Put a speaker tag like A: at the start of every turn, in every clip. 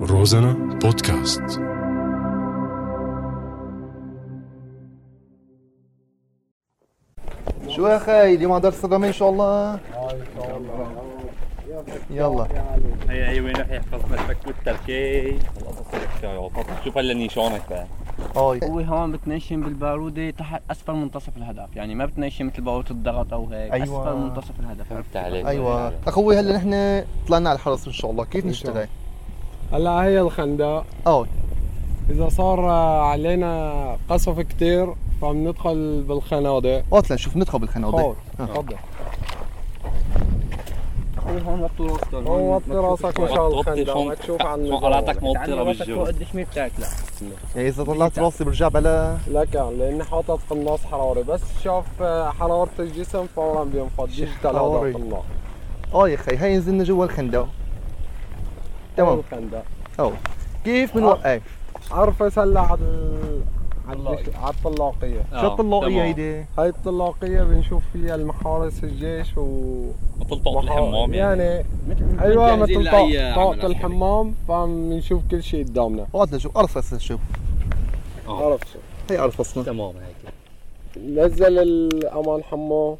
A: روزانا بودكاست
B: شو يا اخي اليوم على درس الرمي ان شاء الله يلا
C: هي هي وين رح يحفظ نفسك والتركي شوف هلا نيشانك بقى
B: هاي
D: هو هون بتنشن بالبارودة تحت أسفل منتصف الهدف يعني ما بتنشن مثل بارودة الضغط أو هيك
B: أيوة.
D: أيوة. أسفل منتصف الهدف عرفت؟
C: تعال
E: أيوة.
B: ايوه اخوي هلا نحن طلعنا على الحرس ان شاء الله كيف نشتري
E: هلا هي الخندق
B: اه
E: اذا صار آه، علينا قصف كتير فبندخل بالخنادق
B: وقت نشوف ندخل بالخنادق
E: خور تفضل
D: هو هون وطي راسك
E: هون وطي راسك مشان الخندق
C: شلون
E: تشوف عن
C: شلون
D: يعني
C: قلعتك موطره
D: فوق
C: بالجو
D: قديش ما بتاكلها
B: يعني اذا طلعت راسي برجع بلا
E: لك لاني حاطط قناص حراري بس شاف آه، حرارة الجسم فورا بينفض يشتغل هذا
B: حراري.
E: القناص
B: اه يا اخي هاي نزلنا جوا الخندق
E: هون
B: تمام
E: الخندق
B: كيف بنوقف
E: ارفس هلا على ال- على الدش- على الطلاقية
D: آه.
B: شو الطلاقية هيدي
E: هاي الطلاقية بنشوف فيها المحارس الجيش و
C: تلطق الحمام يعني
E: يعني
D: مثل
E: ايوه
D: مجهزين
E: مثل
D: لأي
E: طاق-
D: عمل
E: طاقة
D: عسكري.
E: الحمام فبنشوف كل شيء قدامنا
B: وقت نشوف ارفص نشوف
C: آه.
E: عرفت
B: هي ارفصنا
C: تمام هيك
E: نزل الامان حمو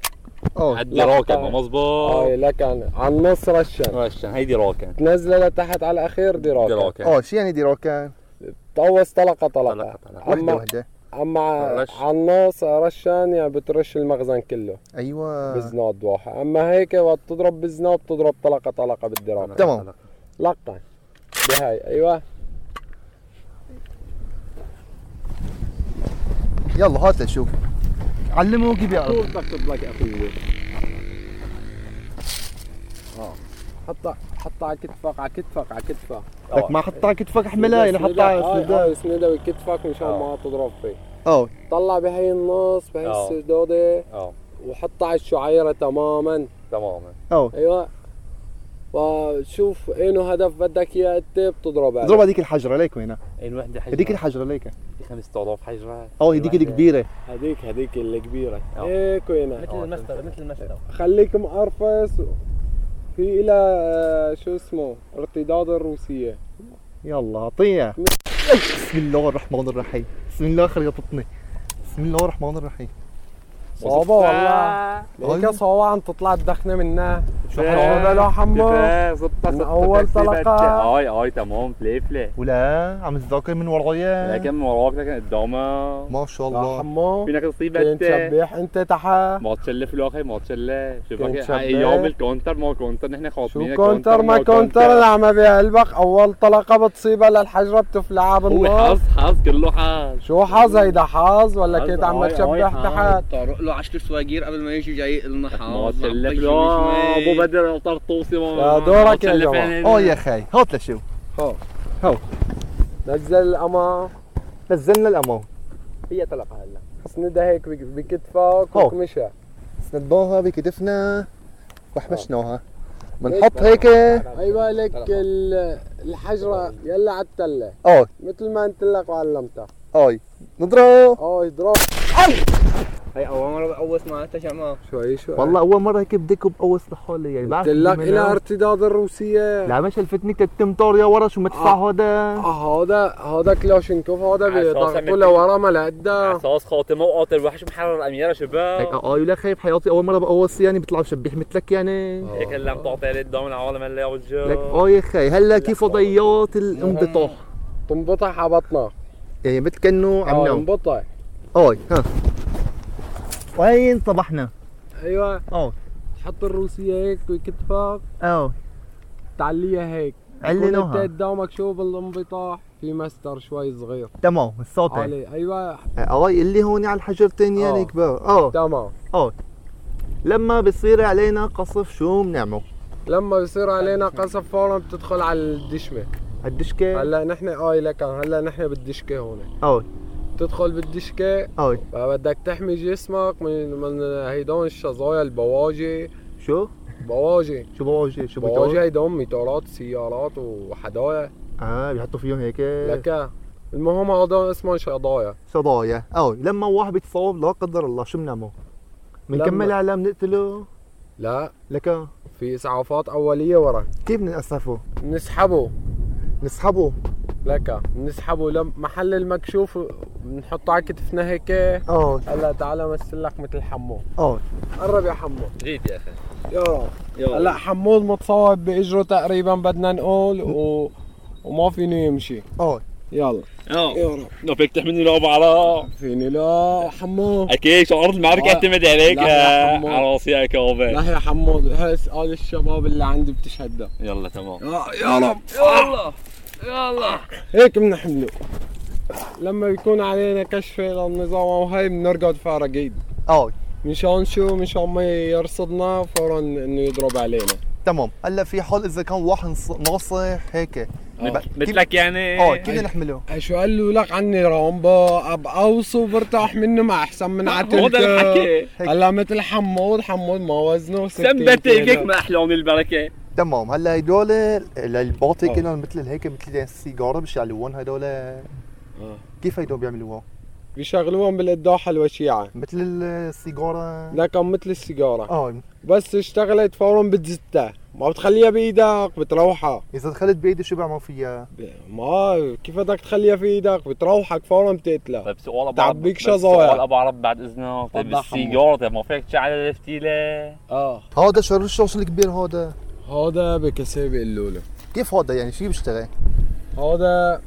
B: اه
C: عدي راكن
E: هاي آه.
C: مظبوط
E: لكن على النص رشن
C: رشن هيدي راكن
E: نزل لتحت على الاخير دي
C: هيدي
E: راكن
C: راكن
B: اه شو يعني دي روكان
E: طوس طلقه
C: طلقة،
E: طلقه
C: طلقة.
B: وحدة
E: اما
B: وحدة
E: اما ع-
C: رش.
E: على النص رشان يعني بترش المخزن كله
C: آه.
B: ايوه
E: بزناد واحد اما هيك وقت تضرب بزناد بتضرب طلقه طلقه بالدي راكن
B: تمام
E: لقن بهاي ايوه
B: يلا هات لنشوف علمه كيف يعرف
E: تكتب لك اخوي اه حطها حطها على كتفك على كتفك على كتفك
B: لك ما حطها على كتفك احملها يعني حطها على
E: اسندها
B: سندها
E: هاي اسندها بكتفك مشان ما تضرب فيه
B: اه
E: طلع بهي النص بهي
C: آه.
E: السدودة
C: اه
E: وحطها على الشعيرة تماما
C: تمام
B: اه
E: ايوه وشوف اينو هدف بدك اياه انت بتضرب عليه
B: اضرب هذيك الحجره ليك وينها
E: أيوة.
C: عين وحده حجره
B: هذيك الحجره ليك
C: 5000 حجره
B: اه هذيك
E: أيوة.
B: الكبيره
E: هذيك هذيك الكبيرة
C: آه.
E: هيك وينها
C: آه،
D: المستوى مثل المستوى
E: خليك مقرفس و- في إلها شو اسمه ارتداد الروسية
B: يلا اعطيها بسم الله الرحمن الرحيم بسم الله خريطتني بسم الله الرحمن الرحيم
E: صعبة والله هيك صعبة عم تطلع الدخنة منها شو هذا لو حمو من أول طلقة
C: هاي هاي تمام فليفله
B: ولا عم تذاكر من ورايا
C: لكن من وراك لكن قدامه
B: ما شاء
E: لو
B: الله
E: حمو
C: فينك تصيب
E: كنت
C: انت
E: شبيح انت تحا
C: ما تشلف لو اخي ما تشلف شوف
E: كنت
C: هيك
E: شباب.
C: ايام الكونتر ما كونتر نحن خاطبين
E: شو كونتر ما كونتر نعمة بقلبك اول طلقة بتصيبها للحجرة بتفلعها
C: هو
E: بالنار
C: حظ حظ كله حظ
E: شو حظ هيدا حظ ولا
C: حظ،
E: كنت عم
C: هاي- هاي
E: تشبح
C: حظ.
E: تحت
D: طارق له 10 سواقير قبل ما يجي جاي
C: ما
D: لنا حظ
C: تشلف لا ابو بدر طرطوسي
E: يا دورك يا جماعة.
B: اه يا اخي هات لشو
E: هو
B: هو.
E: نزل الأما
B: نزلنا الامام
E: هي طلقة هلا اسندها هيك بك- بكتفك
B: هو.
E: وكمشها
B: سندناها بكتفنا وحمشناها بنحط
E: بنحط
B: هيك
E: هيك. ايوه لك ال- الحجرة يلا على التلة
B: اه
E: مثل ما انت لك وعلمتها
B: اي نضرب
E: اه يضرب
D: هي أول مرة بقوص معناتها جماعة
E: شوي شوي
B: والله اول مره هيك بدك بقوص لحالي يعني
E: قلت لك إلها ارتداد الروسية
B: لا ما شلفتني تتم طاريه ورا شو مدفع هذا
E: آه، هذا هذا كلاشينكوف هذا
C: على أساس
E: بيضغطوا
C: عملت-
E: لورا ما لقدا
C: اساس خاتمه وقاتل وحش محرر اميره
B: هيك
C: شباب
B: اه ولا خايف حياتي اول مره بقوص يعني بيطلع شبيح مثلك يعني
C: هيك اللي عم تعطي عليه الدم العالم هلا
B: لك
C: والجو
B: اه يا خي هلا كيف فضيات الانبطاح
E: تنبطح على بطنك
B: يعني آه. مثل كانه عم
E: اه
B: نام
E: انبطح
B: اه ها وين صبحنا
E: ايوه
B: اه
E: حط الروسية هيك بكتفك
B: اه
E: تعليها هيك يكون انت
B: علنوها
E: قدامك شو بالانبطاح في مستر شوي صغير
B: تمام الصوت هيك.
E: علي ايوه
B: اه اللي هون على الحجرتين يعني
E: آه.
B: كبار اه
E: تمام
B: لما بصير علينا قصف شو بنعمل؟
E: لما بصير علينا قصف فورا بتدخل على الدشمه
B: الدشكه
E: هلا نحن اي لك هلا نحن بالدشكه هون
B: اه
E: تدخل بالدشكه
B: اه
E: بدك تحمي جسمك من من هيدون الشظايا البواجي
B: شو؟
E: بواجي
B: شو بواجه شو
E: بواجي
B: بواجه؟
E: هيدون ميتورات سيارات وحدايا
B: اه بيحطوا فيهم هيك
E: لك المهم هذا اسمه شظايا
B: صدايا اه لما واحد بيتصاب لا قدر الله شو بنعمل؟ بنكمل
E: لما-
B: على بنقتله
E: لا
B: لك
E: في اسعافات اوليه ورا
B: كيف بنأسفه؟
E: نسحبه
B: نسحبه
E: لك بنسحبه لمحل المكشوف بنحطه على كتفنا هيك
B: اه
E: هلا تعال مثل لك مثل حمو
B: اه
E: قرب يا حمو
C: جيت يا اخي
E: يلا هلا حمود متصاب باجره تقريبا بدنا نقول و... وما فيني يمشي
B: اه
E: يلا
C: يلا لو بيفتح مني لعبه على
E: فيني لا حمود
C: اكيد شعار المعركه
E: آه.
C: اعتمد عليك
E: لا يا حمو.
C: على راسي يا كوبي
E: لا يا حمود هس قال الشباب اللي عندي بتشهد
C: يلا تمام
E: يا رب
D: يلا يلا
E: هيك بنحمله لما بيكون علينا كشف للنظام وهي بنرقد فيها رقيد
B: اه
E: مشان شو مشان ما يرصدنا فورا انه يضرب علينا
B: تمام هلا في حال اذا كان واحد نص- ناصح هيك
E: آه.
C: مثلك يعني
B: اه كنا نحمله
E: شو قال له لك عني رامبا ابقى اوصى برتاح منه ما احسن من
C: هو ده
E: عتلك
C: الحكي
E: هلا مثل حمود حمود ما وزنه
C: ثبت ايديك مع احلام البركه
B: تمام هلا هدول الباطي
E: آه.
B: كنا مثل هيك مثل السيجاره مش يعلوهم هدول كيف هدول بيعملوها؟
E: بيشغلوهم بالقداحه الوشيعه
B: مثل السيجاره
E: لكن مثل السيجاره
B: اه
E: بس اشتغلت فورا بتزتها ما بتخليها بايدك بتروحها
B: اذا دخلت بايدي شو بعمل فيها؟
E: ب- ما كيف بدك تخليها في ايدك بتروحك فورا بتقتلها
C: طيب سؤال ابو عرب
E: تعبيك
C: بس
E: شظايا.
C: سؤال ابو عرب بعد اذنك طيب
E: تفضل
C: السيجاره طيب ما فيك تشعل الفتيله
E: اه
B: هذا شر الشوش الكبير هذا
E: هذا بكسيه بيقولوا له
B: كيف هذا يعني شو بيشتغل؟
E: هذا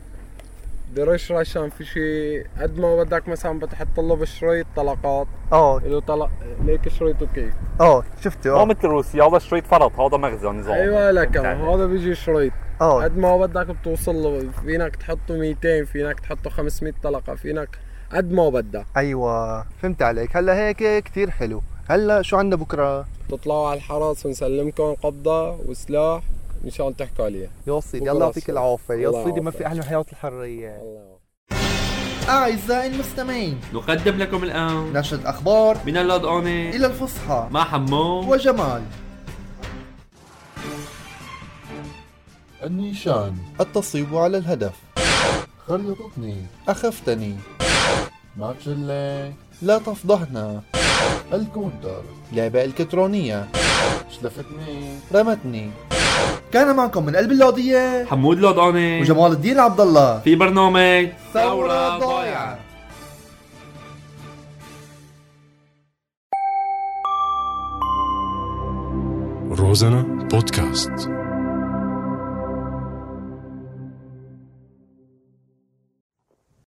E: برش رشان في شيء قد ما بدك مثلا بتحط له بشريط طلقات
B: اه
E: له طلق ليك شريط وكيك
B: اه شفته
C: ما
B: اه
C: مثل روسيا هذا شريط فرط هذا مغزى نظام
E: ايوه لك هذا بيجي شريط
B: اه
E: قد ما بدك بتوصل له فينك تحطه 200 فينك تحطه 500 طلقه فينك قد ما بدك
B: ايوه فهمت عليك هلا هيك كثير حلو هلا شو عندنا بكره؟
E: تطلعوا على الحرس ونسلمكم قبضه وسلاح مشان تحكوا عليها
B: يا سيدي
E: بكرة
B: الله يعطيك
E: السلام.
B: العافيه
E: الله
B: يا سيدي ما في
E: يعافيك.
B: احلى من حياه الحريه
E: الله
B: أعزائي المستمعين
C: نقدم لكم الان
B: نشرة أخبار
C: من اللود اوني
B: إلى الفصحى
C: مع حمو
B: وجمال
A: النيشان
B: التصويب على الهدف
A: خرطتني
B: أخفتني
A: ماتشلي
B: لا تفضحنا
A: الكونتر
B: لعبة إلكترونية
A: شلفتني
B: رمتني كان معكم من قلب اللوضية
C: حمود لود اوني
B: وجمال الدين عبد الله
C: في برنامج
B: إيه. ثورة ضايعة
A: Розана подкаст.